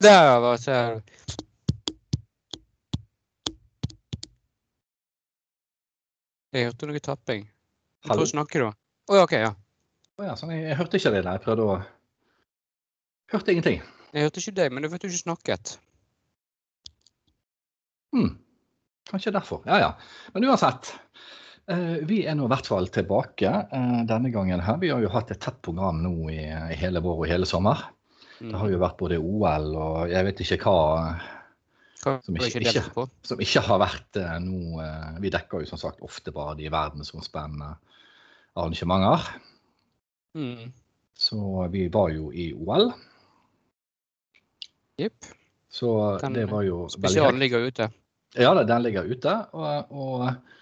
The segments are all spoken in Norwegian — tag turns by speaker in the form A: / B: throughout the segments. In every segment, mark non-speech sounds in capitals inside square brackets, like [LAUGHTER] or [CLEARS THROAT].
A: Да, вот, э, Jeg hørte noe tapping. Jeg
B: Hallo?
A: tror snakker da. Å ja, OK, ja.
B: Å ja, sånn, jeg, jeg hørte ikke det der. Jeg prøvde å Hørte ingenting.
A: Jeg hørte ikke deg, men du vet du ikke snakket.
B: Hmm. Kanskje derfor. Ja, ja. Men uansett. eh, vi er nå i hvert fall tilbake eh, denne gangen her. Vi har jo hatt et tett program nå i, i hele vår og hele sommer.
A: Mm.
B: Det har jo vært både OL og jeg vet ikke hva
A: Hva-
B: som
A: hva
B: ikke-
A: jeg
B: ikke-
A: delte på.
B: som ikke har vært eh, noe eh, Vi dekker jo som sagt ofte bare de verdensomspennende arrangementer.
A: Mm.
B: Så vi var jo i OL.
A: Jepp.
B: Så
A: Den
B: det var jo veldig
A: Spesialen ligger ute.
B: Ja, da, den ligger ute. Og, og,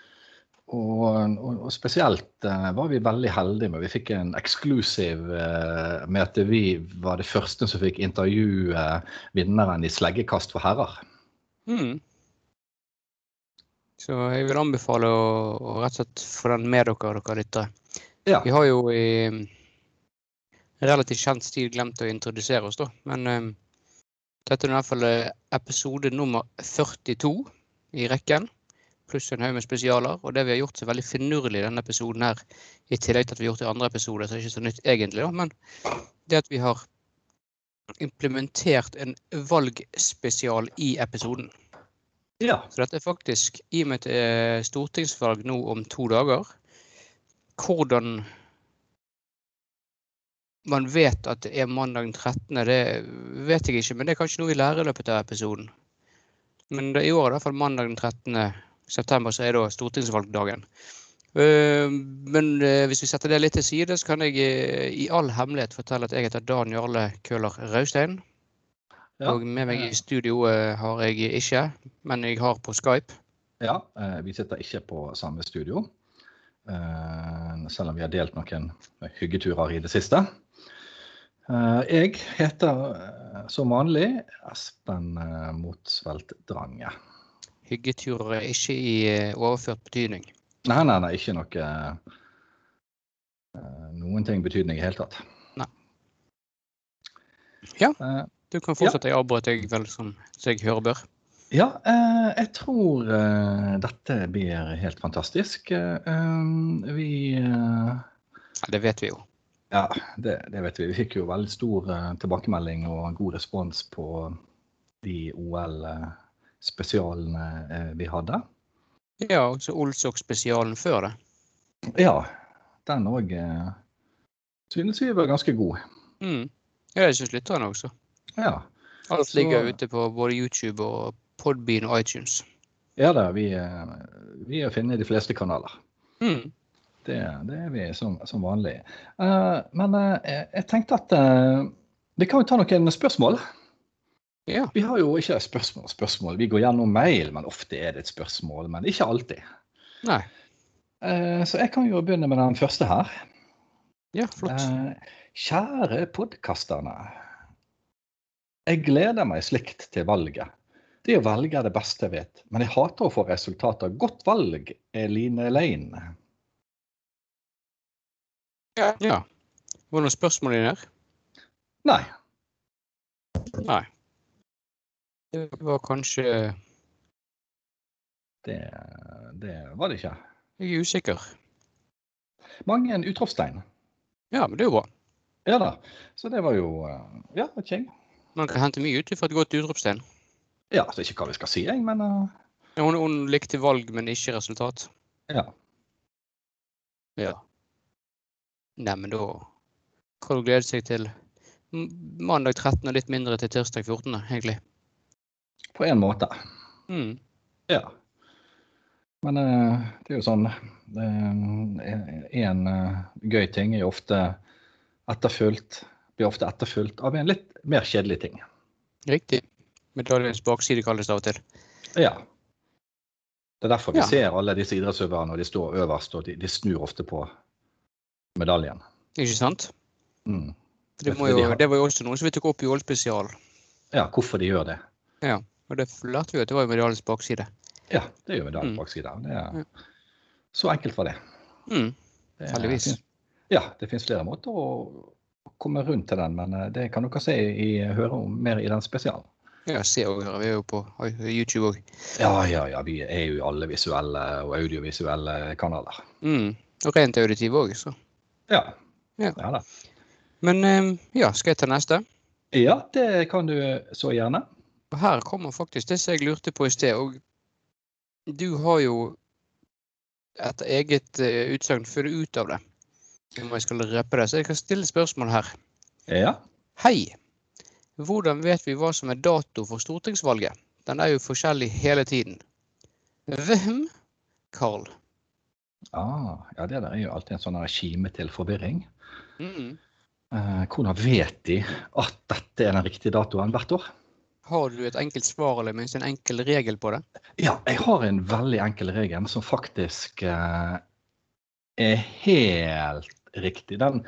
B: og, og, og spesielt eh, var vi veldig heldige med Vi fikk en eksklusiv eh, med at vi var det første som fikk intervjue eh, vinneren i sleggekast for herrer.
A: Mm. Så jeg vil anbefale å, å rett og slett få den med dere, dere lyttere.
B: Ja.
A: Vi har jo i mm, relativt kjent stil glemt å introdusere oss, da. Men eh, dette er i hvert fall eh, episode nummer 42 i rekken. Pluss en haug med spesialer. Og det vi har gjort så veldig finurlig i denne episoden her, i tillegg til at vi har gjort det i andre episoder, så er det ikke så nytt egentlig, da. Men det at vi har implementert en valgspesial i episoden.
B: Ja.
A: Så dette er faktisk, i og med at det er stortingsvalg nå om to dager, hvordan man vet at det er mandag den 13., det vet jeg ikke, men det er kanskje noe vi lærer i løpet av episoden. Men det, i år er det i hvert fall mandag den 13. september, så er da stortingsvalgdagen. Eh, Men eh, hvis vi setter det litt til side, så kan jeg eh, i all hemmelighet fortelle at jeg heter Dan Jarle Køhler Raustein.
B: Ja.
A: Og med meg i studio eh, har jeg ikke, men jeg har på Skype.
B: ja eh, vi sitter ikke på samme studio, eh, selv om vi har delt noen hyggeturer i det siste. Eh, jeg heter eh, som vanlig Espen eh, Motsvelt Drange.
A: Hyggeturer er ikke i eh, overført betydning.
B: Nei, nei, nei, ikke noe eh, Noen ting betydning i det hele tatt.
A: Nei. Ja.
B: Eh,
A: Du kan fortsette, jeg avbrøt deg vel som så jeg hører bør.
B: ja, eh, jeg tror eh, dette blir helt fantastisk. Eh, eh, vi eh,
A: Ja, det vet vi jo.
B: Ja, det, det vet vi. Vi fikk jo veldig stor eh, tilbakemelding og god respons på de OL-spesialene eh, vi hadde.
A: Ja, også Olsok-spesialen før det.
B: Ja, den òg eh, synes vi var ganske god.
A: Mm. Ja, det syns lytterne også.
B: Ja.
A: Alt
B: Så-
A: ligger ute på både YouTube og Podbean og iTunes.
B: Ja da, vi, eh, vi er å finne i de fleste kanaler.
A: Mm.
B: Det, det er vi som, som vanlig. Eh, men eh, jeg- jeg tenkte at eh, vi kan jo ta noen spørsmål.
A: Ja.
B: Vi har jo ikke spørsmål, spørsmål. Vi går gjennom mail, men ofte er det et spørsmål. Men ikke alltid.
A: Nei.
B: Eh, så jeg kan jo begynne med den første her.
A: Ja, flott.
B: Eh, kjære podkasterne. Jeg gleder meg slikt til valget. Det å velge er det beste jeg vet, men jeg hater å få resultater. Godt valg, Eline Lein.
A: Ja. Var det noen spørsmål inni der?
B: Nei.
A: Nei. Det var kanskje
B: Det, det var det ikke.
A: Jeg er usikker.
B: Mange utropstegn.
A: Ja, men det er jo bra.
B: Ja da. Så det var jo eh, Ja, ok.
A: Man kan hente mye ut fra et godt utropstegn.
B: Ja, altså ikke hva vi skal si, jeg, men eh,
A: Ja, Hun, hun likte valg, men ikke resultat.
B: ja.
A: Ja. Nei, men da kan hun glede seg til m- mandag 13. og litt mindre til tirsdag 14., egentlig.
B: På en måte.
A: Mm.
B: Ja. Men eh, det er jo sånn Én gøy ting er jo ofte etterfulgt Blir ofte etterfulgt av en litt mer kjedelig ting.
A: Riktig. Medaljens bakside kalles det av og til.
B: Ja. Det er derfor vi
A: Ja.
B: ser alle disse idrettsutøverne, og de står øverst, og de, de snur ofte på medaljen.
A: Ikke sant?
B: Mm.
A: For Det,
B: Vet
A: må
B: du, de
A: jo,
B: har-
A: det var jo også noe som vi tok opp i OL-spesial.
B: Ja, hvorfor de gjør det.
A: Og det lærte vi jo at det var jo medaljens bakside.
B: Ja, det er jo
A: Mm.
B: medaljens bakside. Det er, så enkelt var det.
A: Mm.
B: det
A: Heldigvis.
B: Ja, det finnes flere måter å komme rundt til den, men eh, det kan dere se i, høre om mer i den spesialen.
A: Ja, se og høre. Vi er jo på YouTube òg.
B: Ja, ja, ja. Vi er jo i alle visuelle og audiovisuelle kanaler.
A: Mm. Og rent auditiv òg, så.
B: Ja.
A: Ja.
B: da.
A: Men eh, ja, skal jeg ta neste?
B: ja, det kan du så gjerne.
A: Og her kommer faktisk det som jeg lurte på i sted. Og du har jo et eget eh, utsagn funnet ut av det. Om jeg skal røpe det, så jeg kan stille spørsmål her.
B: Ja.
A: Hei! Hvordan vet vi hva som er dato for stortingsvalget? Den er jo forskjellig hele tiden. Hvem? Carl.
B: Ah, ja, det der er jo alltid en sånn her kime til forvirring.
A: Mm.
B: Eh, hvordan vet de at dette er den riktige datoen hvert år?
A: Har du et enkelt svar eller minst en enkel regel på det?
B: Ja, jeg har en veldig enkel regel som faktisk eh, er helt riktig. Den,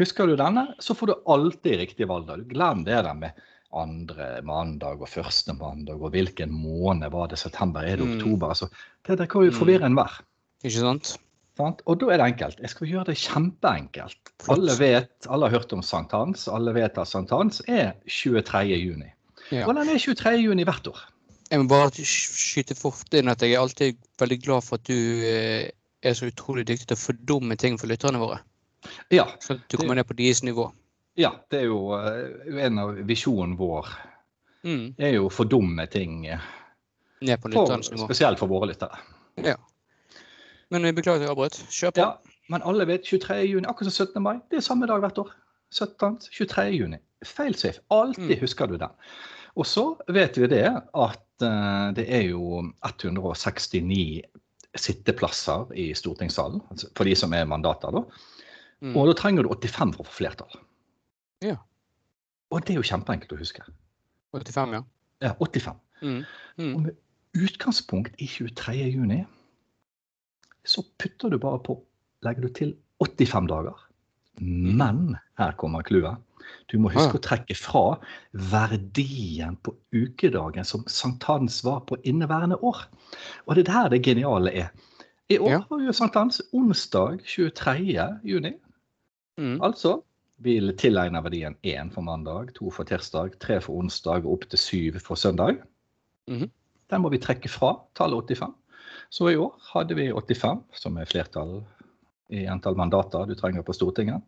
B: husker du denne, så får du alltid riktig valgdag. Glem det der med andre mandag og første mandag og hvilken måned var det september, er det
A: Mm.
B: oktober? Altså, det der kan jo forvirre enhver.
A: Ikke sant?
B: Sant? Og da er det enkelt. Jeg skal gjøre det kjempeenkelt.
A: Flott.
B: Alle vet, alle har hørt om sankthans. Alle vet at sankthans er 23. juni.
A: Ja.
B: Og den er 23. juni hvert år.
A: Jeg må bare sk- skyte fort inn at jeg er alltid veldig glad for at du eh, er så utrolig dyktig til å fordumme ting for lytterne våre.
B: Ja,
A: Så at du kommer ned på deres nivå.
B: ja det er jo eh, en av visjonen vår.
A: Mm.
B: er jo for dumme ting. eh,
A: Ned på
B: For,
A: lytternes nivå.
B: spesielt for våre lyttere.
A: Ja. Men jeg beklager at jeg avbrøt. Kjør på.
B: Ja, men alle vet 23. juni, akkurat som 17. mai. Det er samme dag hvert år. 17. 23. juni. Feil safe. Alltid
A: Mm.
B: husker du den. Og så vet vi det at eh, det er jo 169 sitteplasser i stortingssalen, altså for de som er mandater, da.
A: Mm.
B: Og da trenger du 85 for å få flertall.
A: Ja.
B: Og det er jo kjempeenkelt å huske.
A: 85, ja.
B: Ja, 85.
A: Mm. Mm.
B: Og med utgangspunkt i 23. juni, så putter du bare på, legger du til 85 dager. Men her kommer clouet. Du må huske
A: Mm. Ah.
B: å trekke fra verdien på ukedagen som sankthans var på inneværende år. Og det er der det geniale er. I år
A: Ja.
B: var jo sankthans onsdag 23. juni.
A: Mm.
B: Altså vil tilegne verdien én for mandag, to for tirsdag, tre for onsdag og opp til syv for søndag.
A: Mhm.
B: Den må vi trekke fra tallet 85. Så i år hadde vi 85, som er flertall i antall mandater du trenger på Stortinget.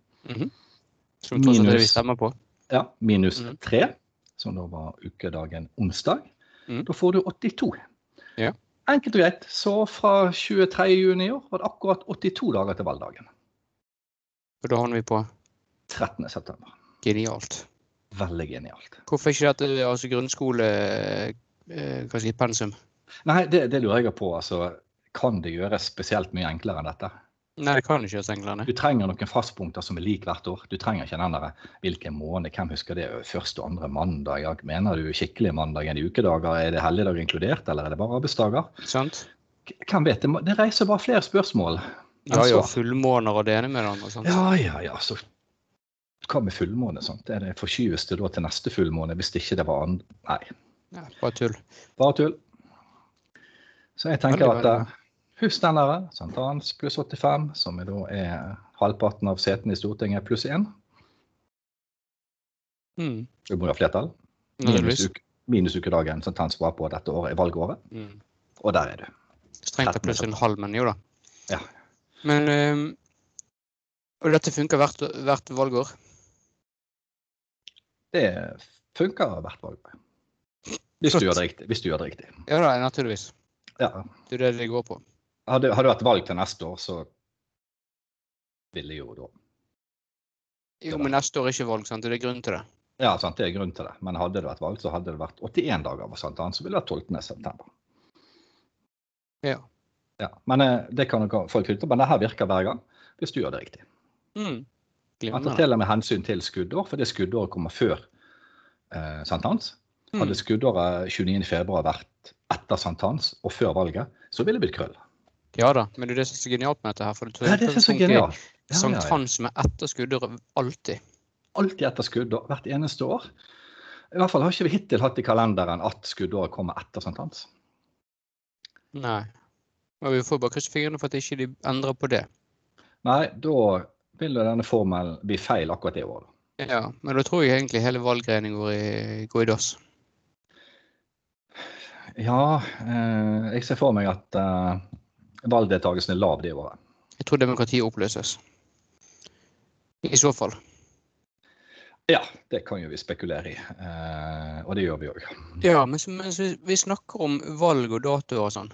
A: Som tross alt er det vi
B: Minus.
A: stemmer på.
B: Ja, minus
A: Mhm.
B: 3, som da var ukedagen onsdag.
A: Mhm.
B: Da får du 82.
A: Ja.
B: Enkelt og greit. Så fra 23. juni i år var det akkurat 82 dager til valgdagen.
A: Og da havner vi på
B: 13. september.
A: genialt.
B: Veldig genialt.
A: Hvorfor ikke dette er altså grunnskole... Eh, hva skal jeg si, pensum?
B: Nei, det, det lurer jeg på. altså, Kan det gjøres spesielt mye enklere enn dette?
A: Nei, det kan ikke gjøres enklere.
B: Du trenger noen fastpunkter som er lik hvert år. Du trenger ikke den der hvilken måned, hvem husker det, første og andre mandag? Ja, mener du skikkelig mandag enn ukedager? Er det helligdager inkludert, eller er det bare arbeidsdager?
A: nei. Sant?
B: K- Hvem vet, det må- det reiser bare flere spørsmål.
A: Ja, ja,
B: svar.
A: Altså, fullmåner og det ene med det andre. sant?
B: Ja, ja, ja. Så hva med fullmåne? sant? Er det forskyves det da til neste fullmåne hvis det ikke det var andre? Nei,
A: Ja, bare tull.
B: bare tull. Så jeg tenker
A: Veldig
B: at
A: bra.
B: eh, husstandere, sankthans pluss 85, som er da er halvparten av setene i Stortinget, pluss 1.
A: Mm.
B: Du må jo ha flertall.
A: Når det er
B: Minus,
A: lys.
B: uke, minus ukedagen som Tans var på dette året, i valgåret.
A: Mm.
B: Og der er du.
A: Strengt tatt pluss en halv, men jo da.
B: Ja.
A: Men eh, Og dette funker hvert, hvert valgår.
B: Det funker hvert valgår. Hvis
A: Flott.
B: du gjør det riktig. Hvis du gjør det riktig.
A: Ja da, naturligvis.
B: Ja.
A: Det er det det går på.
B: Hadde, hadde det vært valg til neste år, så ville jo da
A: Jo, men neste år er ikke valg, sant? Det er grunn til det.
B: Ja, sant, det er grunn til det. Men hadde det vært valg, så hadde det vært 81 dager for sankthans. Så ville det vært 12. september.
A: Ja.
B: Ja, Men eh, det kan dere folk ut Men det her virker hver gang. Hvis du gjør det riktig.
A: Mm.
B: Man tar
A: Glimrende.
B: til og med hensyn til skuddår, for det skuddåret kommer før eh, sankthans.
A: Mm.
B: Hadde skuddåret 29. februar vært etter sankthans og før valget, så ville det blitt krøll.
A: Ja da, men det er det som er så genialt med dette her. For det
B: Det er det som er så genialt. Ja, ja, ja.
A: Sankthans med etterskuddere alltid.
B: Alltid etter skuddår, hvert eneste år. I hvert fall har ikke vi hittil hatt i kalenderen at skuddåret kommer etter sankthans.
A: Nei. Og vi får bare krysse fingrene for at ikke de endrer på det.
B: Nei, da vil jo denne formelen bli feil akkurat det året.
A: Ja, men da tror jeg egentlig hele valggreiene går i, går i dass.
B: Ja, eh, jeg ser for meg at eh, valgdeltakelsen er lav det året.
A: Jeg tror demokratiet oppløses. I så fall.
B: Ja, det kan jo vi spekulere i. Eh, og det gjør vi òg.
A: Ja, men så- mens vi, vi snakker om valg og datoer og sånn,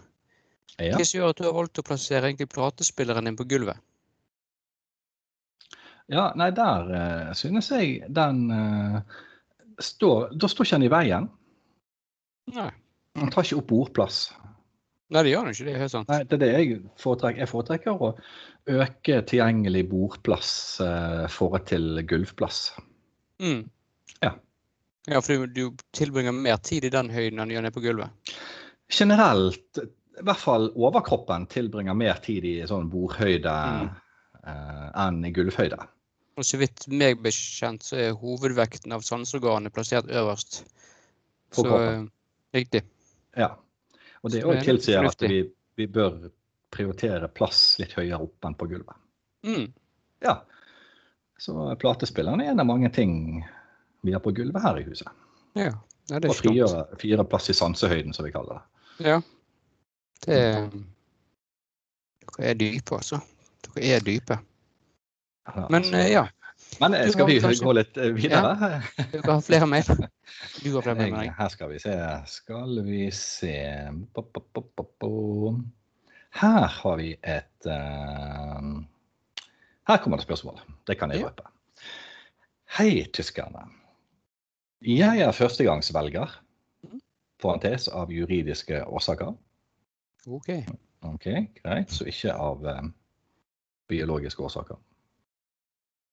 B: Ja.
A: hva som gjør at du har valgt å plassere egentlig platespilleren din på gulvet?
B: ja, nei, der eh, synes jeg den eh, står Da står ikke den i veien.
A: Nei,
B: Den tar ikke opp bordplass.
A: Nei det gjør den ikke. Det er helt sant.
B: Nei, det er det jeg foretrekker. Jeg foretrekker å øke tilgjengelig bordplass eh, forhold til gulvplass.
A: Mm.
B: Ja.
A: Ja, for du, du tilbringer mer tid i den høyden enn du gjør nede på gulvet.
B: Generelt, i hvert fall overkroppen, tilbringer mer tid i sånn bordhøyde
A: Mm.
B: eh, enn i gulvhøyde.
A: Og så vidt meg bekjent, så er hovedvekten av sanseorganet plassert øverst.
B: På
A: så
B: kroppen.
A: eh, riktig.
B: Ja. Og det
A: Så det
B: òg
A: er
B: tilsier at
A: fornuftig.
B: vi, vi bør prioritere plass litt høyere opp enn på gulvet.
A: Mm.
B: Ja. Så platespilleren er en av mange ting vi har på gulvet her i huset.
A: Ja. ja, det
B: Og
A: er ikke dumt.
B: frigjøre, frigjøre plass i sansehøyden, som vi kaller det.
A: Ja. Det er
B: Mm.
A: Dere er dype, altså. Dere er dype.
B: Ja,
A: Men
B: så-
A: eh, ja,
B: Men eh,
A: du
B: skal
A: har
B: vi
A: kanskje-
B: gå litt eh, videre?
A: dere har flere mail. Du har flere mail enn
B: Jeg,
A: jeg.
B: her skal vi se. Skal vi se Bo, bo, bo, bo, bo. Her har vi et eh, Her kommer det spørsmål. Det kan jeg
A: Ja.
B: røpe. Hei, tyskerne. Jeg er førstegangsvelger, parentes av juridiske årsaker.
A: OK.
B: Ok, Greit, så ikke av eh, biologiske årsaker.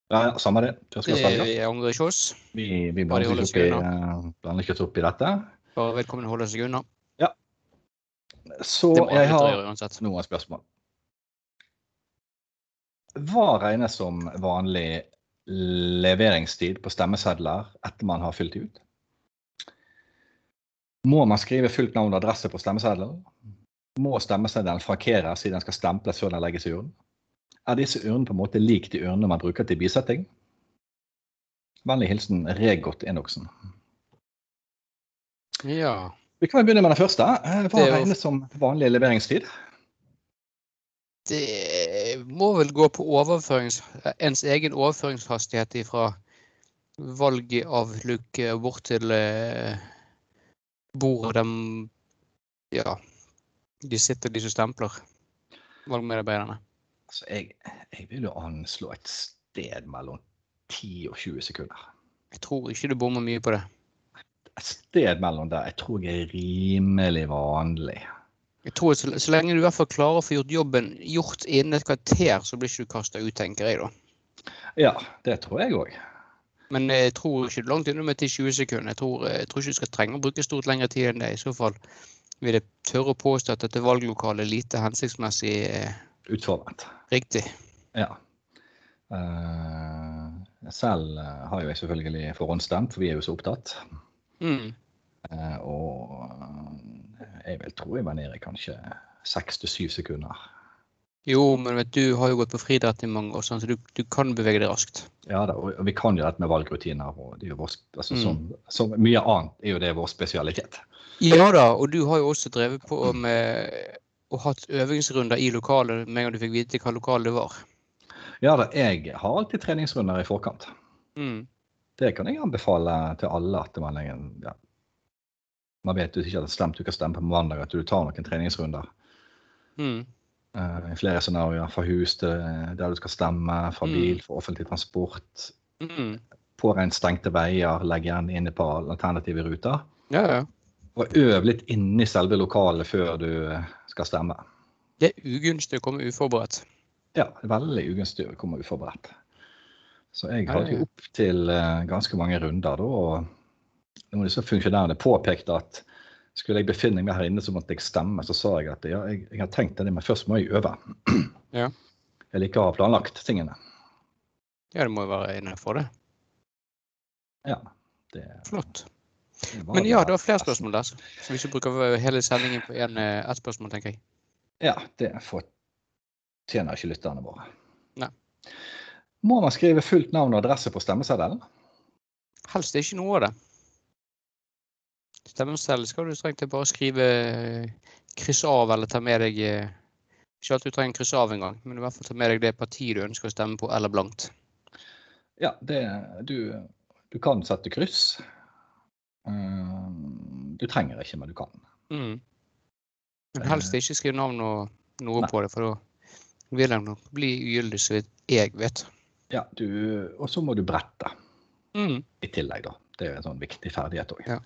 B: Ja, ja, samme det.
A: Det
B: Førstegangsvelger.
A: jeg angrer ikke oss.
B: Vi, vi
A: Bare
B: blander
A: holde
B: oss
A: oss
B: ikke opp i, eh, blander ikke oss opp i dette.
A: Bare vedkommende holder seg unna.
B: Så
A: Det må alle
B: jeg
A: tre
B: har
A: gjøre uansett.
B: noen spørsmål. Hva regnes som vanlig leveringstid på stemmesedler etter man har fylt de ut? Må man skrive fullt navn og adresse på stemmeseddelen? Må stemmeseddelen frankeres siden den skal stemples før den legges i urnen? Er disse urnene på en måte lik de urnene man bruker til bisetting? Vennlig hilsen Regot Enoksen.
A: Ja.
B: Vi kan vel begynne med den første. Eh,
A: Det
B: Hva
A: er jo-
B: regnes som vanlig leveringstid?
A: Det må vel gå på overførings, ens egen overføringshastighet fra valget av luke bort til eh, bordet de Ja. De sitter, de som stempler. Valgmedarbeiderne.
B: Altså, jeg, jeg vil jo anslå et sted mellom 10 og 20 sekunder.
A: Jeg tror ikke du bommer mye på det.
B: Et sted mellom der jeg tror jeg er rimelig vanlig.
A: Jeg tror at så, så lenge du i hvert fall klarer å få gjort jobben gjort innen et kvarter, så blir ikke du kasta ut, tenker jeg da.
B: Ja, det tror jeg òg.
A: Men jeg tror ikke det er langt unna med 10-20 sekunder. Jeg tror, jeg tror ikke du skal trenge å bruke stort lengre tid enn det. I så fall vil jeg tørre å påstå at dette valglokalet er lite hensiktsmessig eh,
B: Utformet.
A: riktig.
B: Ja. Eh, selv eh, har jo jeg selvfølgelig forhåndsstemt, for vi er jo så opptatt.
A: Mm.
B: Eh, og eh, jeg vil tro jeg var nede i kanskje 6-7 sekunder.
A: Jo, men vet du har jo gått på friidrett i mange år, sånn, så du, du kan bevege deg raskt.
B: Ja da, og og vi kan jo dette med valgrutiner. og det er jo vår, sp- altså,
A: Mm.
B: som, som Mye annet er jo det vår spesialitet.
A: Ja da, og du har jo også drevet på med og hatt øvingsrunder i lokalet med en gang du fikk vite hva lokalet det var.
B: Ja da, jeg har alltid treningsrunder i forkant.
A: Mm.
B: Det kan jeg anbefale til alle. at Man, ingen- ja. man vet jo ikke at det er slemt du kan stemme på mandag, at du tar noen treningsrunder.
A: Mm.
B: eh, I flere scenarioer. Fra hus til eh, der du skal stemme, fra
A: Mm.
B: bil, fra offentlig transport.
A: Mm.
B: Påregn stengte veier, legg gjerne inn et par alternative ruter.
A: Ja, ja.
B: Og øv litt inni selve lokalet før du eh, skal stemme.
A: Det er ugunstig å komme uforberedt.
B: Ja, veldig ugunstig å komme uforberedt. Så jeg
A: Ja,
B: hadde
A: ja, ja.
B: jo opp til eh, ganske mange runder da, og noen av disse funksjonærene påpekte at skulle jeg befinne meg her inne, så måtte jeg stemme. Så sa jeg at ja, jeg, jeg har tenkt det, men først må jeg øve. [CLEARS THROAT]
A: Ja.
B: Jeg liker å ha planlagt tingene.
A: Ja, det må jo være innenfor det.
B: Ja, det,
A: Flott.
B: det var
A: Men ja, det
B: det.
A: var flere spørsmål der. Så så vi ikke bruker hele sendingen på en, eh, ett spørsmål, tenker jeg.
B: Ja, det fortjener ikke lytterne våre.
A: Nei.
B: Må man skrive fullt navn og adresse på stemmeseddelen?
A: Helst ikke noe av det. Stemmeseddel skal du strengt tatt bare skrive eh, kryss av eller ta med deg eh, Ikke at du trenger kryss av engang, men i hvert fall ta med deg det partiet du ønsker å stemme på, eller blankt.
B: Ja, det, du, du kan sette kryss. Eh, Du trenger ikke, men du kan.
A: Mm. Eh. Men helst ikke skriv navn og noe på det, for da vil den nok bli ugyldig, så vidt jeg vet.
B: Ja, du, og så må du brette
A: Mm.
B: i tillegg, da. Det er en sånn viktig ferdighet òg.
A: Ja.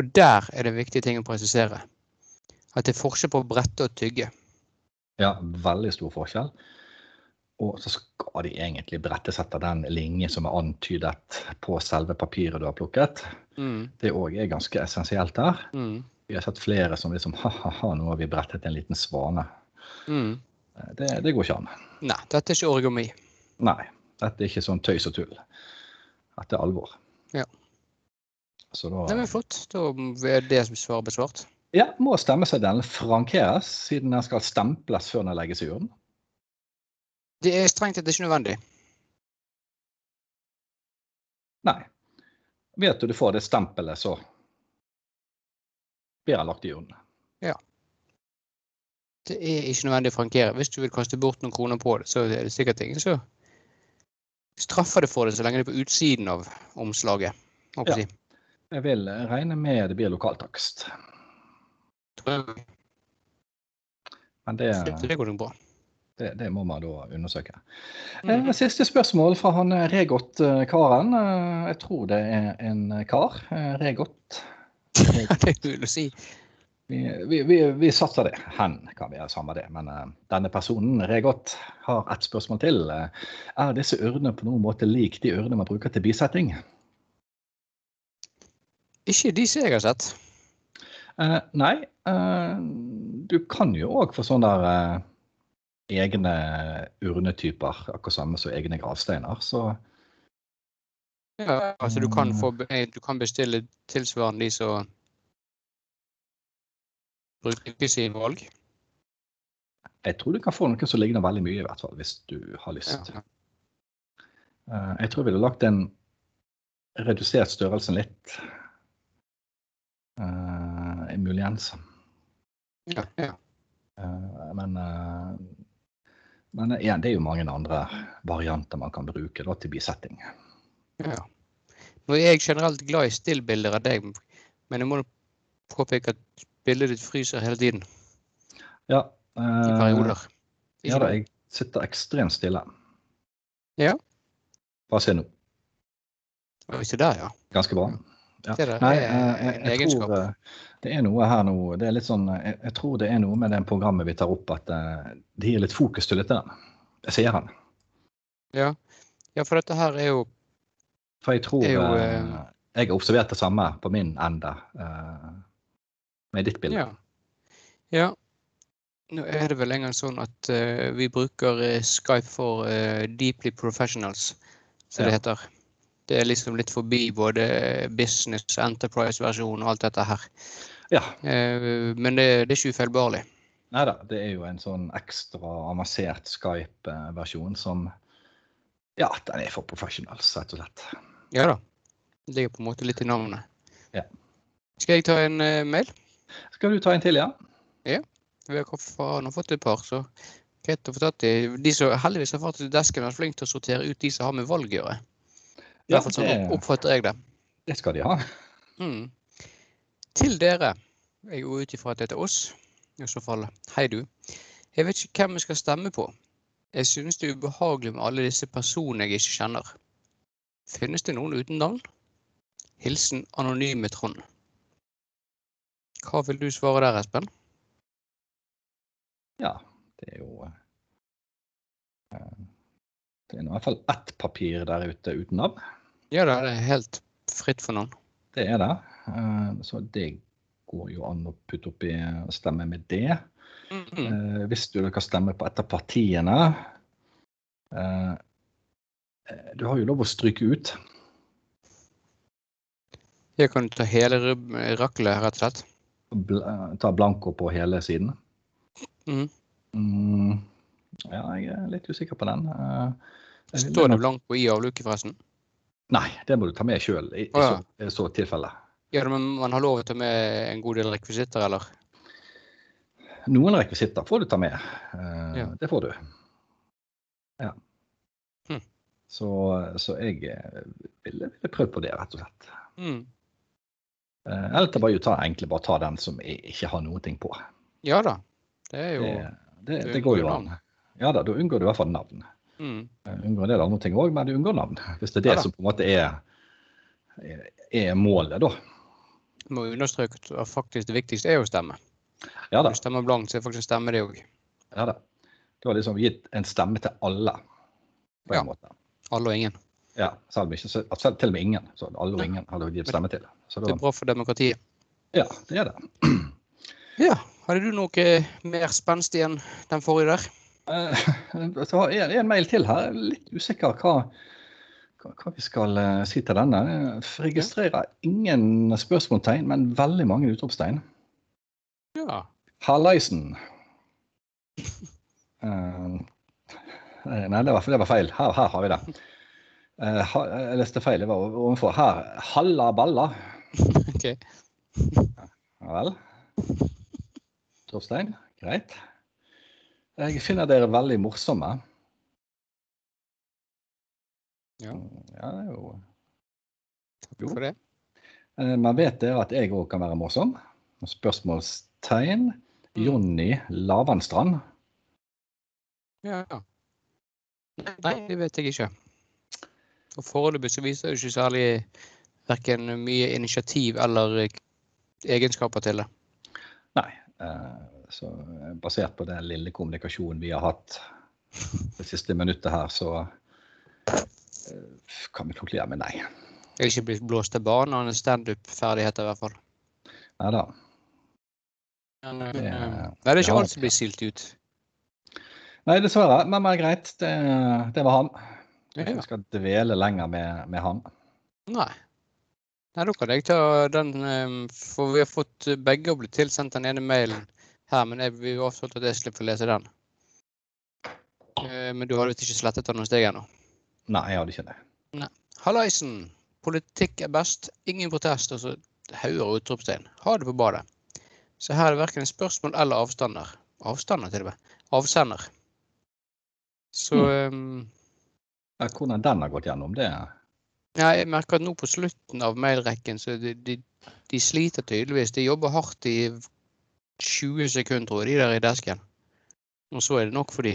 A: Og der er det en viktig ting å presisere. At det er forskjell på å brette og tygge.
B: Ja, veldig stor forskjell. Og så skal de egentlig brettes etter den linje som er antydet på selve papiret du har plukket.
A: Mm.
B: Det òg er ganske essensielt der.
A: Mm.
B: Vi har sett flere som liksom ha-ha-ha, nå har vi brettet en liten svane.
A: Mm.
B: Eh, Det, det går ikke an.
A: Nei, dette er ikke origami.
B: Nei, dette er ikke sånn tøys og tull. Dette er alvor.
A: Ja.
B: Så da
A: Nei, men flott. Da er det som svaret besvart.
B: ja, må stemmeseddelen frankeres, siden den skal stemples før den legges i urnen.
A: Det er strengt tatt ikke nødvendig.
B: Nei. Vet du du får det stempelet, så blir den lagt i urnen.
A: Det er ikke nødvendig å frankere. Hvis du vil kaste bort noen kroner på det, så er det sikkert ingen som straffer det for det, så lenge det er på utsiden av omslaget.
B: Ja.
A: Håper jeg.
B: Jeg vil regne med det blir lokaltakst.
A: Tror jeg.
B: Men det,
A: Så Det går nok bra.
B: det, det må man da undersøke.
A: Mm.
B: Eh, Siste spørsmål fra han eh, Regot-karen. Eh, Jeg tror det er en kar. eh, Regot.
A: [LAUGHS] Det er mulig å si.
B: Vi, vi, vi, vi satser det. Hen kan vi gjøre samme det. Men eh, denne personen, Regot, har et spørsmål til. Eh, Er disse urnene på noen måte lik de urnene man bruker til bisetting?
A: Ikke de som jeg har sett.
B: Eh, nei, eh, du kan jo òg få sånne der eh, egne urnetyper, akkurat samme som egne gravsteiner. Så
A: Ja, altså du kan, få, nei, du kan bestille tilsvarende de som brukes i valg.
B: jeg tror du kan få noe som ligner veldig mye, i hvert fall, hvis du har lyst.
A: Ja.
B: Eh, jeg tror jeg ville lagt den redusert størrelsen litt. Eh, muligens.
A: Ja, ja.
B: Eh, men eh, men eh, igjen, det er jo mange andre varianter man kan bruke da, til bisetting.
A: Ja. Nå er jeg generelt glad i stillbilder av deg, men jeg må påpeke at bildet ditt fryser hele tiden
B: Ja,
A: i
B: eh,
A: perioder.
B: Ja
A: Ikke
B: da,
A: nå.
B: jeg sitter ekstremt stille.
A: Ja.
B: Bare se nå.
A: Oi, se der, ja.
B: Ganske bra. Ja.
A: Det der
B: Nei,
A: er
B: eh,
A: en
B: jeg, jeg
A: egenskap.
B: tror eh, det er noe her nå det er litt sånn, jeg, jeg tror det er noe med det programmet vi tar opp, at eh, det gir litt fokus til lytteren. Jeg sier han.
A: Ja. ja, for dette her er jo
B: For jeg tror
A: Det er jo,
B: eh,
A: eh,
B: jeg har observert det samme på min ende eh, med ditt bilde.
A: Ja. ja. Nå er det vel engang sånn at eh, vi bruker eh, Skype for eh, deeply professionals, som det
B: Ja.
A: heter. Det er liksom litt forbi både business, enterprise-versjon og alt dette her.
B: Ja.
A: Eh, men det, det er ikke ufeilbarlig.
B: Nei da, det er jo en sånn ekstra avansert Skype-versjon som Ja, den er for professionals, rett og slett.
A: Ja da. Det ligger på en måte litt i navnet.
B: Ja.
A: Skal jeg ta en eh, mail?
B: Skal du ta en til, ja?
A: Vi har kommet fra- han har fått et par, så greit å få tatt i. De som heldigvis har fått til desken, har vært flinke til å sortere ut de som har med valg å gjøre. I
B: Ja,
A: hvert fall sånn
B: det-
A: opp- oppfatter jeg det.
B: Det skal de ha.
A: Mm. Til dere. Jeg går ut ifra at det er oss. I så fall, hei du. Jeg vet ikke hvem vi skal stemme på. Jeg synes det er ubehagelig med alle disse personene jeg ikke kjenner. Finnes det noen uten navn? Hilsen anonyme Trond. Hva vil du svare der, Espen?
B: Ja, det er jo eh, Det er nå i hvert fall ett papir der ute uten navn.
A: Ja da, det er helt fritt for navn.
B: Det er det. Eh, Så det går jo an å putte opp i og stemme med det.
A: Mhm.
B: Eh, Hvis du kan stemme på et av partiene eh, eh, Du har jo lov å stryke ut.
A: Jeg kan ta hele rub- raklet, rett og slett.
B: Bl eh, ta blanko på hele siden.
A: Mhm.
B: Mm, ja, jeg er litt usikker på den. Eh,
A: Står det blanko i avluke, forresten?
B: Nei, det må du ta med sjøl i, i,
A: Å, ja.
B: så- i så tilfelle.
A: Ja, men man har lov til å ta med en god del rekvisitter, eller?
B: Noen rekvisitter får du ta med. eh,
A: Ja.
B: Det får du. Ja.
A: Hm.
B: Så, så jeg eh, ville, ville prøvd på det, rett og slett.
A: Mm.
B: Eh, Eller ta bare, ta, egentlig bare ta den som jeg ikke har noen ting på.
A: Ja da. Det er jo
B: Det, det,
A: du
B: det går jo
A: unngår
B: an. Ja da, da unngår du i hvert fall navn.
A: mm.
B: Eh, Unngår en del andre ting òg, men du unngår navn. Hvis det er det
A: Ja da.
B: som på en måte er, er- er målet, da.
A: Må understreke at faktisk det viktigste er jo å stemme.
B: Ja da.
A: Når du stemmer blankt, så er faktisk stemme det òg.
B: Ja da. Du har liksom gitt en stemme til alle, på en
A: Ja.
B: måte.
A: Alle og ingen.
B: Ja, selv, om ikke, altså, selv til og med ingen. Så alle og
A: Nei.
B: ingen har du gitt stemme til. Så
A: Det
B: da,
A: er bra for demokratiet.
B: ja, det er det.
A: Ja. Hadde du noe eh, mer spenstig enn den forrige der?
B: Eh, Så har jeg en mail til her. Jeg er Litt usikker hva, hva, hva vi skal eh, si til denne. Jeg registrerer ingen spørsmålstegn, men veldig mange utropstegn.
A: Ja.
B: Hallaisen. Eh, nei, det var, det var feil. Her, her har vi det. Eh, ha, jeg leste feil. Det var over- ovenfor her. Halla balla.
A: [LAUGHS] Ok.
B: Ja vel. Torstein, greit. Jeg finner dere veldig morsomme.
A: Ja.
B: Ja, det er jo
A: Takk
B: Jo.
A: for det.
B: Eh, Men vet dere at jeg òg kan være morsom? Spørsmålstegn.
A: Mm.
B: Jonny Lavanstrand.
A: Ja. ja. Nei, det vet jeg ikke. Og foreløpig så viser det jo ikke særlig verken mye initiativ eller eh, egenskaper til det.
B: Nei. eh, Så eh, basert på den lille kommunikasjonen vi har hatt det siste minuttet her, så eh, kan vi konkludere med nei.
A: Jeg er ikke blitt blåst til banen av en standup-ferdighet i hvert fall.
B: Nei da.
A: Men, eh,
B: Det-
A: nei, det er
B: det
A: ikke
B: har
A: alt
B: jeg.
A: som blir silt ut.
B: Nei, dessverre. Men, men greit. Det, det var han. Jeg tror
A: Ja.
B: ikke vi skal dvele lenger med, med han.
A: Nei. Nei, da kan jeg ta den, eh, for vi har fått eh, begge å bli tilsendt den ene mailen her, men jeg vi avtalte at jeg slipper å lese den. Eh, Men du har visst ikke slettet den hos deg ennå?
B: Nei, jeg hadde ikke det.
A: Hallaisen! Politikk er best, ingen protest, og så hauger og utropstegn. Ha det på badet. Så her er det verken spørsmål eller avstander. Avstander, til og med. Avsender. Så ehm,
B: Ja, Hvordan den har gått gjennom, det
A: ja, jeg merker at nå på slutten av mailrekken, så de, de, de sliter tydeligvis. De jobber hardt i 20 sekunder, tror jeg, de der i desken. Og så er det nok for de.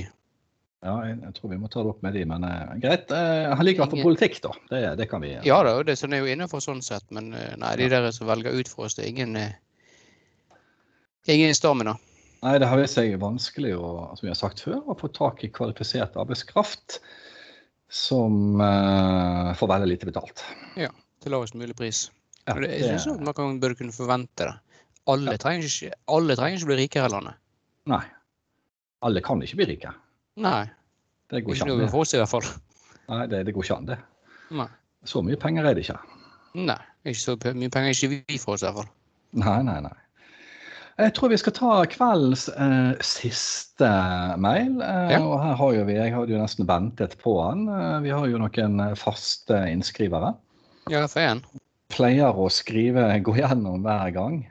B: Ja, jeg, jeg tror vi må ta det opp med de, men eh, greit. eh, Han liker i hvert fall
A: Ingen-
B: politikk, da. Det, det kan vi
A: Ja da, og det sånn er jo innenfor sånn sett, men eh, nei, de der som velger ut for oss, det er ingen eh, Ingen stamina.
B: Nei, det har vist seg vanskelig å, som vi har sagt før, å få tak i kvalifisert arbeidskraft som eh, får veldig lite betalt. eh,
A: til lavest mulig pris.
B: Ja,
A: Og det, jeg
B: det-
A: synes nok man kan, burde kunne forvente det. Alle, trenger ikke, alle trenger ikke bli rikere i landet.
B: Nei. Alle kan ikke bli rike.
A: Nei.
B: Det går
A: Ikke
B: ikke
A: noe
B: an, det.
A: for oss i hvert fall.
B: Nei, det, det går ikke an, det.
A: Nei.
B: Så mye penger er det ikke.
A: Nei. Ikke så pe- mye penger ikke vi får oss i hvert fall.
B: Nei, nei, nei. Jeg tror vi skal ta kveldens eh, siste mail. Eh,
A: Ja.
B: Og her har jo vi, jeg hadde jo nesten ventet på han. Eh, vi har jo noen eh, faste innskrivere.
A: Ja, for én.
B: Pleier å skrive, gå gjennom hver gang.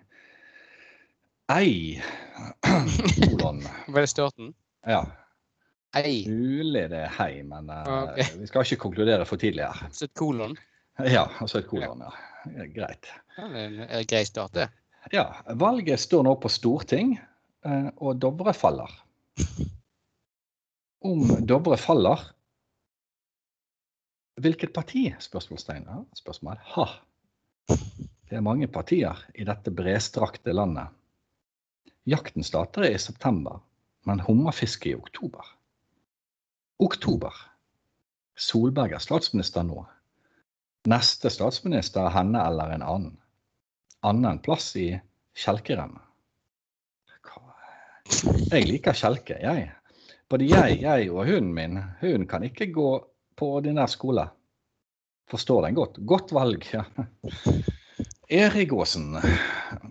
B: Ei kolon.
A: Var det starten?
B: Ja,
A: Ei.
B: mulig det er hei, men eh,
A: Ok.
B: vi skal ikke konkludere for tidlig her.
A: Så et kolon.
B: Ja, altså et kolon, ja. Greit.
A: Ja, det er en- en grei start, det.
B: Ja, valget står nå på Storting, eh, og Dovre faller. Om Dovre faller Hvilket parti? Spørsmålstegn. Ja, spørsmål. Ha. Det er mange partier i dette bredstrakte landet. Jakten starter i september, men hummerfisket i oktober. Oktober. Solberg er statsminister nå. Neste statsminister er henne eller en annen annen plass i kjelkerem. Hva- Jeg liker kjelke, jeg. Både jeg, jeg og hunden min. Hunden kan ikke gå på ordinær skole. Forstår den godt. Godt valg. ja. Erik Aasen,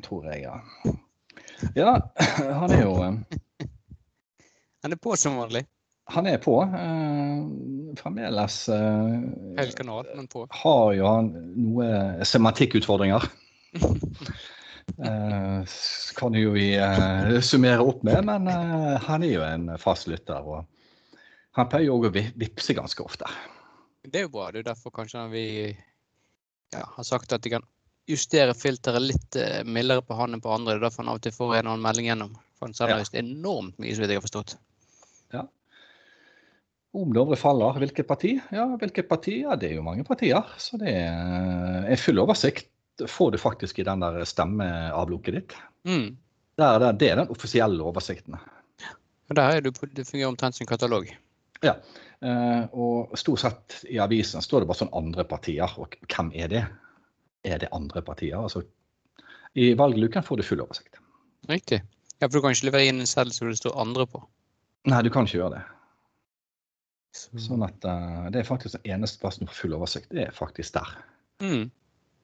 B: tror jeg, ja. Ja, han er jo eh,
A: Han er på som vanlig.
B: Han er på. eh, fremdeles eh,
A: Feil kanal, men på.
B: har jo han noe sematikkutfordringer. Eh, s- kan jo vi eh, summere opp med, men eh, han er jo en fast lytter. Og han pleier jo òg å vi- vippse ganske ofte.
A: Det er jo bra. Det er jo derfor kanskje vi ja, har sagt at de kan justere filteret litt eh, mildere på han enn på andre. Det er derfor han av og til får en eller annen melding gjennom. For han
B: Ja.
A: sender visst enormt mye, så vidt jeg har forstått.
B: Om Dovre faller, hvilket parti? Ja, hvilket parti? Ja, det er jo mange partier. Så det er en full oversikt får du faktisk i den der stemmeavlukket ditt.
A: Mm.
B: Der, der, det er den offisielle oversikten.
A: Og der er du, på- det fungerer omtrent som katalog.
B: Eh, og stort sett i avisen står det bare sånn andre partier, og hvem er det? Er det andre partier? Altså, I valgluken får du full oversikt.
A: Riktig. Ja, for du kan ikke levere inn en seddel som det står andre på.
B: Nei, du kan ikke gjøre det.
A: Mm.
B: Sånn at eh, det er faktisk den eneste plassen du får full oversikt, det er faktisk der.
A: Mm.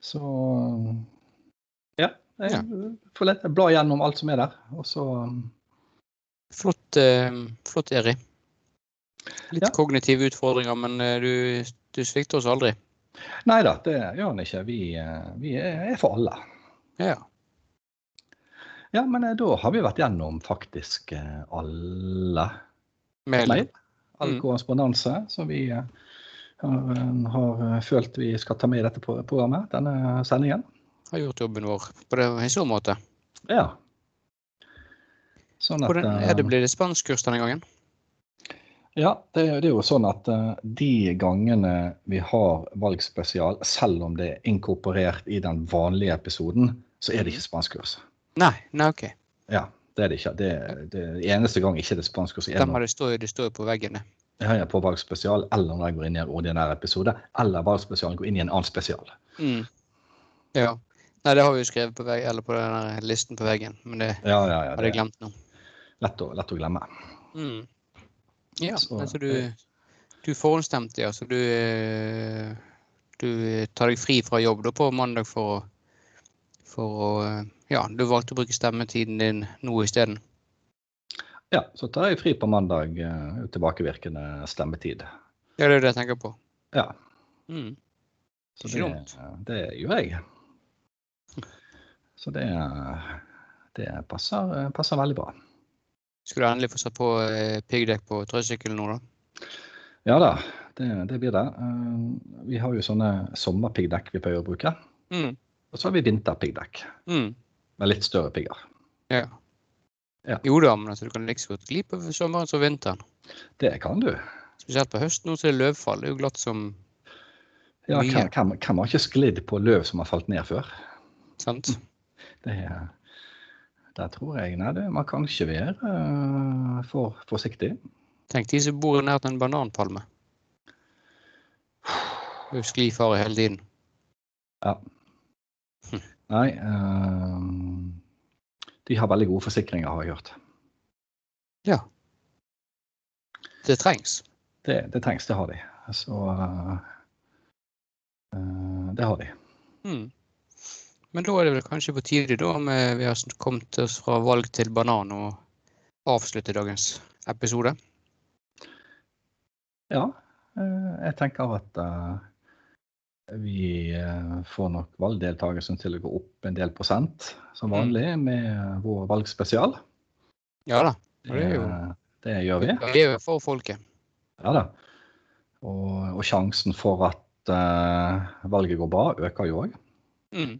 B: Så eh, ja, jeg får lett bla gjennom alt som er der, og så eh,
A: Flott, eh, flott Eri. Litt
B: Ja.
A: kognitive utfordringer, men eh, du, du svikter oss aldri.
B: Nei da, det gjør han ikke. Vi, eh, vi er er for alle.
A: Ja.
B: Ja, men eh, da har vi vært gjennom faktisk eh, alle
A: Mail.
B: mail. All
A: Mm.
B: korrespondanse som vi eh, har, eh, har eh, følt vi skal ta med i dette pro- programmet, denne sendingen.
A: Har gjort jobben vår på det, i så måte.
B: Ja. Sånn at,
A: Hvordan
B: eh,
A: er det blir det spanskkurs denne gangen?
B: ja, det, er- det er jo sånn at eh, de gangene vi har valgspesial, selv om det er inkorporert i den vanlige episoden, så er det
A: Mhm.
B: ikke spanskkurs.
A: Nei, nei, OK.
B: Ja, det er det ikke. Det, det eneste gang ikke det er spanskkurs, er
A: Stemmer,
B: når
A: det står jo det står jo på veggen. det.
B: jeg er på valgspesial, eller når jeg går inn i en ordinær episode, eller valgspesialen går inn i en annen spesial.
A: Mm. Ja. Nei, det har vi jo skrevet på, veggen, eller på den der listen på veggen, men det
B: Ja, ja, ja.
A: hadde
B: Det
A: jeg
B: er
A: glemt nå.
B: lett å, lett å glemme.
A: Mm. Ja,
B: Så-
A: altså du, du forhåndsstemte, ja. Så du, eh, du eh, tar deg fri fra jobb da på mandag for å for å eh, Ja, du valgte å bruke stemmetiden din nå isteden.
B: Ja, så tar jeg fri på mandag, eh, tilbakevirkende stemmetid.
A: Ja, det er det jeg tenker på.
B: Ja,
A: Mm.
B: så
A: Ikke
B: det,
A: dumt.
B: det gjør jeg. Så det, det passer, passer veldig bra.
A: Skulle du endelig få satt på eh, piggdekk på trøysykkelen nå, da?
B: Ja da, det, det blir det. Eh, Vi har jo sånne sommerpiggdekk vi pleier å bruke.
A: Mm.
B: Og så har vi vinterpiggdekk
A: Mm.
B: med litt større pigger.
A: Ja.
B: Ja.
A: Jo da, men altså, du kan like så godt gli på sommeren som vinteren.
B: Det kan du.
A: Spesielt på høsten nå så er det løvfall. Det er jo glatt som
B: Ja,
A: Mye.
B: hvem, hvem, hvem har ikke sklidd på løv som har falt ned før?
A: Sant?
B: Det, der tror jeg Nei, det, man kan ikke være eh, for forsiktig.
A: Tenk de som bor nært en bananpalme. Det er jo Sklifare hele tiden.
B: Nei. eh, de har veldig gode forsikringer, har jeg hørt.
A: Det trengs.
B: Det, det trengs, det har de. Så eh, eh, Det har de.
A: Mm. Men da er det vel kanskje på tide, da, om eh, vi har sn- kommet oss fra valg til banan, og avslutte dagens episode.
B: Ja. eh, jeg tenker at eh, vi eh, får nok valgdeltakelsen til å gå opp en del prosent, som
A: Mm.
B: vanlig, med vår valgspesial.
A: Ja da. Ja,
B: Det,
A: det er jo-
B: det gjør vi.
A: Vi er jo for folket.
B: Ja da. Og, og sjansen for at eh, valget går bra, øker jo òg.
A: Mm.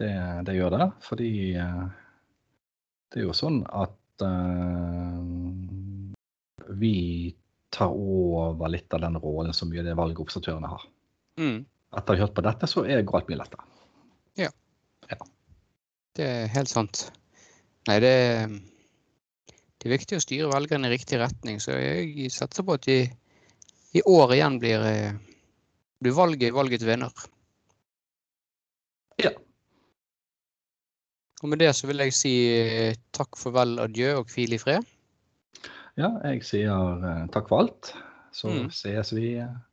B: Det, det gjør det. Fordi eh, det er jo sånn at eh, vi tar over litt av den rollen som mye av det valgobservatørene har.
A: Mm.
B: Etter å ha hørt på dette, så er går alt mye lettere.
A: Det er helt sant. Nei, det er, det er viktig å styre velgerne i riktig retning, så jeg satser på at de i år igjen blir, eh, blir valget valgets vinner.
B: Ja.
A: Og med det så vil jeg si eh, takk, farvel, adjø og hvil i fred.
B: Ja, jeg sier eh, takk for alt. Så
A: Mm.
B: ses vi eh,